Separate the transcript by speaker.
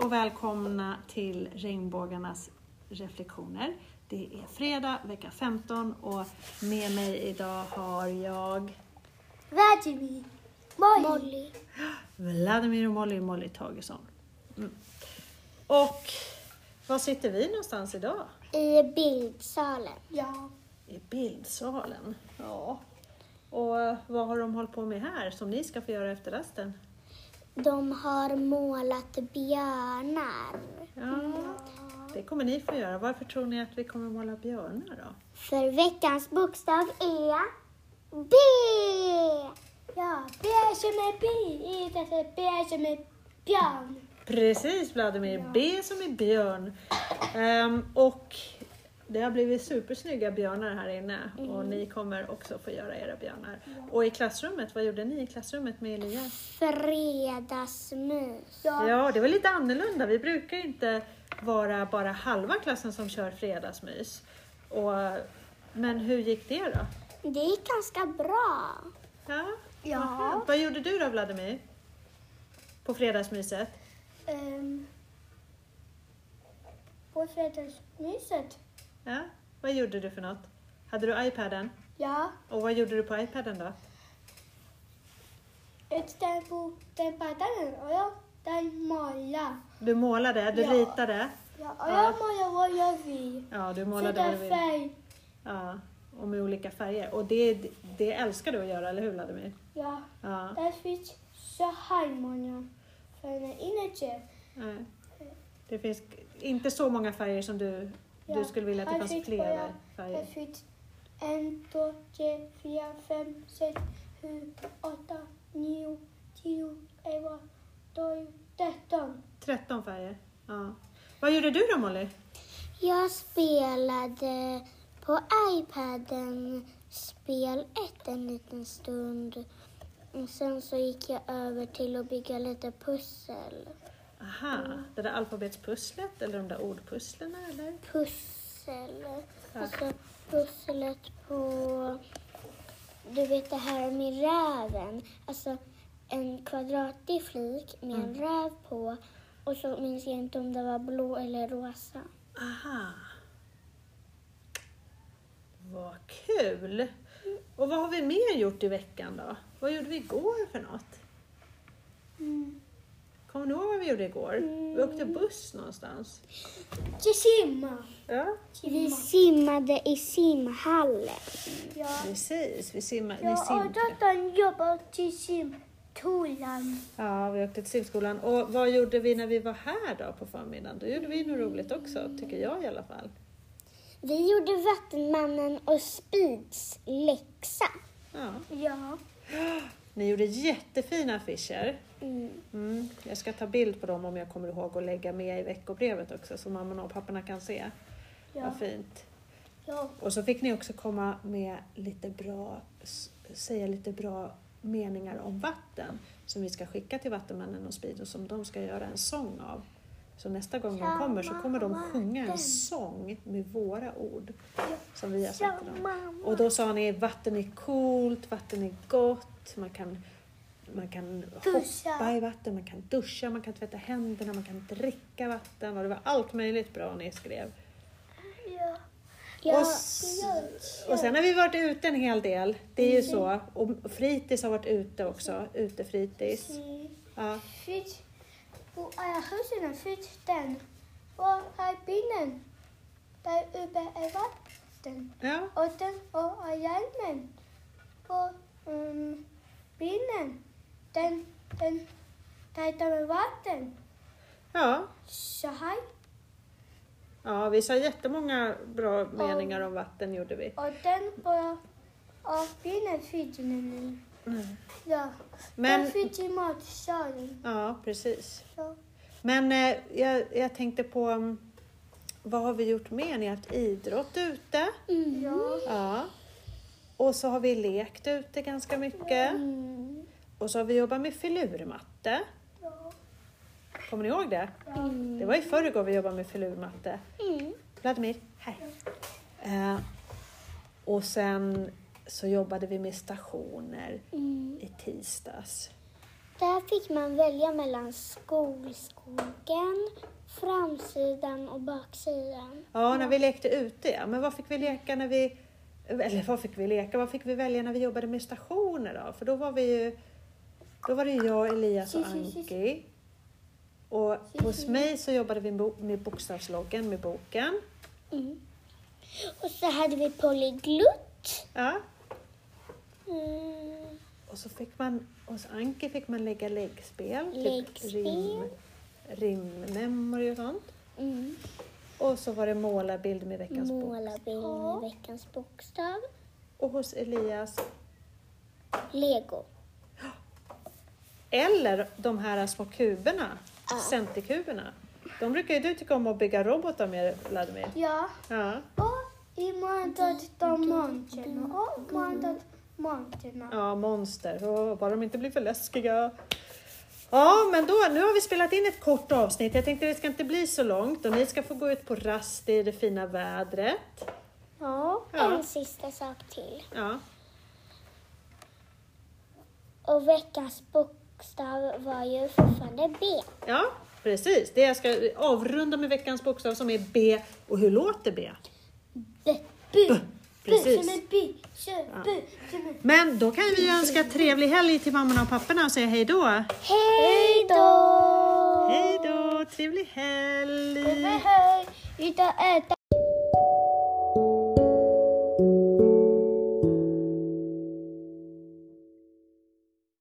Speaker 1: och välkomna till Regnbågarnas reflektioner. Det är fredag vecka 15 och med mig idag har jag
Speaker 2: Vladimir. Molly. Molly.
Speaker 1: Vladimir och Molly, Molly Tagesson. Mm. Och var sitter vi någonstans idag?
Speaker 2: I bildsalen.
Speaker 3: Ja.
Speaker 1: I bildsalen. Ja. Och vad har de hållit på med här som ni ska få göra efter rasten?
Speaker 2: De har målat björnar.
Speaker 1: Ja, det kommer ni få göra. Varför tror ni att vi kommer måla björnar då?
Speaker 2: För veckans bokstav är B.
Speaker 3: Ja, björn som är bi, inte så björn som är björn.
Speaker 1: Precis Vladimir, B som är björn. Ehm, och det har blivit supersnygga björnar här inne och ni kommer också få göra era björnar. Och i klassrummet, vad gjorde ni i klassrummet med Elias?
Speaker 2: Fredagsmys.
Speaker 3: Ja.
Speaker 1: Ja, det var lite annorlunda. Vi brukar ju inte vara bara halva klassen som kör fredagsmys. Och, men hur gick det då?
Speaker 2: Det gick ganska bra.
Speaker 1: Ja.
Speaker 3: Ja.
Speaker 1: Aha. Vad gjorde du då Vladimir? På fredagsmyset?
Speaker 3: Um, på fredagsmyset.
Speaker 1: Ja. Vad gjorde du för något? Hade du iPaden?
Speaker 3: Ja,
Speaker 1: Och vad gjorde du på iPaden då?
Speaker 3: ett den på den paddan och jag den måla.
Speaker 1: Du målade, du
Speaker 3: Ja.
Speaker 1: ritade.
Speaker 3: Ja, och
Speaker 1: Ja.
Speaker 3: jag målar vad jag vill.
Speaker 1: Ja, du målade vad du
Speaker 3: Sitta
Speaker 1: ville.
Speaker 3: färg.
Speaker 1: Ja, och med olika färger. Och det, det älskar du att göra, eller hur Vladimir?
Speaker 3: Ja,
Speaker 1: Ja.
Speaker 3: där finns så här många färger inuti.
Speaker 1: Nej. Eh, Det finns inte så många färger som du, du
Speaker 3: Ja,
Speaker 1: skulle vilja att
Speaker 3: här
Speaker 1: det fanns
Speaker 3: fick
Speaker 1: fler
Speaker 3: jag-
Speaker 1: färger.
Speaker 3: Det finns en, två, tre, fyra, fem, sex, sju, åtta, nio, tio, elva, tolv, tretton.
Speaker 1: 13 färger. Ja. Vad gjorde du då Molly?
Speaker 2: Jag spelade på iPaden spel 1 en liten stund. Och sen så gick jag över till att bygga lite pussel.
Speaker 3: Mm.
Speaker 1: Aha, det där alfabetspusslet eller de där ordpusslen eller?
Speaker 2: Pussel.
Speaker 1: Ja.
Speaker 2: Och så pusslet på... Du vet det här med räven. Alltså en kvadratig flik med en räv på. Och så minns jag inte om det var blå eller rosa.
Speaker 1: Aha. Vad kul! Och vad har vi mer gjort i veckan då? Vad gjorde vi igår för något? Kommer du ihåg vad vi gjorde igår? Vi
Speaker 3: Mm.
Speaker 1: åkte buss någonstans.
Speaker 3: Så simma.
Speaker 1: Ja,
Speaker 2: Vi simmade i simhallen.
Speaker 3: Ja.
Speaker 1: precis. Vi simmade. vi
Speaker 3: Ja, och
Speaker 1: simte.
Speaker 3: dottern jobbar till simskolan.
Speaker 1: Ja, vi åkte till simskolan. Och vad gjorde vi när vi var här då på förmiddagen? Då gjorde vi något roligt också, tycker jag i alla fall.
Speaker 2: Vi gjorde Vattenmannen och Speeds läxa.
Speaker 1: Ja.
Speaker 3: Ja.
Speaker 1: Ni gjorde jättefina affischer.
Speaker 2: Mm.
Speaker 1: Mm. Jag ska ta bild på dem om jag kommer ihåg och lägga med i veckobrevet också så mamman och papporna kan se.
Speaker 3: Ja.
Speaker 1: Vad fint.
Speaker 3: ja.
Speaker 1: Och så fick ni också komma med lite bra, s- säga lite bra meningar om vatten som vi ska skicka till Vattenmännen och Speed och som de ska göra en sång av. Så nästa gång de kommer så kommer de sjunga en sång med våra ord som vi har sagt till dem.
Speaker 2: mamma.
Speaker 1: Och då sa ni vatten är coolt, vatten är gott, man kan, man kan
Speaker 3: Duscha.
Speaker 1: hoppa i vatten, man kan duscha, man kan tvätta händerna, man kan dricka vatten och det var allt möjligt bra ni skrev.
Speaker 3: ja.
Speaker 2: Ja,
Speaker 1: och, s- och sen har vi varit ute en hel del, det är ju så. Och fritids har varit ute också,
Speaker 3: Mm.
Speaker 1: utefritids. Ja,
Speaker 3: Fitt. På alla husen finns den. Och här bilen. Där uppe är vatten.
Speaker 1: ja,
Speaker 3: Och den och har hjälmen. Och um, bilen. Den, den, där tar med vatten.
Speaker 1: ja.
Speaker 3: Så här.
Speaker 1: ja vi sa jättemånga bra meningar om vatten gjorde vi.
Speaker 3: Och den på, och bilen finns den nu. Ja.
Speaker 1: Men-
Speaker 3: Den finns i matsalen.
Speaker 1: Ja, precis.
Speaker 3: Ja.
Speaker 1: Men eh, jag, jag tänkte på mm, vad har vi gjort mer? Ni har haft idrott ute.
Speaker 3: Ja.
Speaker 1: Ja. Och så har vi lekt ute ganska mycket.
Speaker 2: Mm.
Speaker 1: Och så har vi jobbat med filurmatte.
Speaker 3: Ja.
Speaker 1: Kommer ni ihåg det? Det var i förrgår vi jobbade med filurmatte.
Speaker 2: Mm.
Speaker 1: Vladimir, här. Eh, och sen så jobbade vi med stationer
Speaker 2: Mm.
Speaker 1: i tisdags.
Speaker 2: Där fick man välja mellan skolskogen, framsidan och baksidan.
Speaker 1: Ja, när vi lekte ute ja. Men vad fick vi leka när vi... Eller vad fick vi leka? Vad fick vi välja när vi jobbade med stationer då? För då var vi ju... Då var det jag, Elias och Anki. Och hos mig så jobbade vi bo- med bokstavsloggen, med boken.
Speaker 2: Och så hade vi polyglutt.
Speaker 1: Ja.
Speaker 2: Mm.
Speaker 1: Och så fick man... Hos Anki fick man lägga läggspel. typ
Speaker 2: Läggspel.
Speaker 1: rim, rimmemory och sånt.
Speaker 2: Mm.
Speaker 1: Och så var det målarbild med veckans bok.
Speaker 2: Måla bild med veckans bokstav.
Speaker 1: Och hos Elias
Speaker 2: Lego.
Speaker 1: Eller de här små kuberna, centikuberna. De brukar ju du tycka om att bygga robotar med, Vladimir.
Speaker 3: Ja.
Speaker 1: Ja,
Speaker 3: Och i måndags de monterna. Och måndags monterna.
Speaker 1: ja monster. Åh, bara de inte blir för läskiga. Ja, men då, nu har vi spelat in ett kort avsnitt. Jag tänkte det ska inte bli så långt och ni ska få gå ut på rast i det fina vädret.
Speaker 3: Ja.
Speaker 1: Ja,
Speaker 2: En sista sak till.
Speaker 1: ja.
Speaker 2: Och veckans bokstav var ju fortfarande B.
Speaker 1: ja precis. Det jag ska avrunda med veckans bokstav som är B. Och hur låter B?
Speaker 2: B.
Speaker 3: Bu.
Speaker 1: Precis.
Speaker 3: Bu som en by. Kö, bu som en...
Speaker 1: Men då kan vi önska trevlig helg till mammorna och papporna och säga hej då.
Speaker 2: Hej då!
Speaker 1: Hej då, trevlig helg!
Speaker 3: Hej, hej. Ut och äta.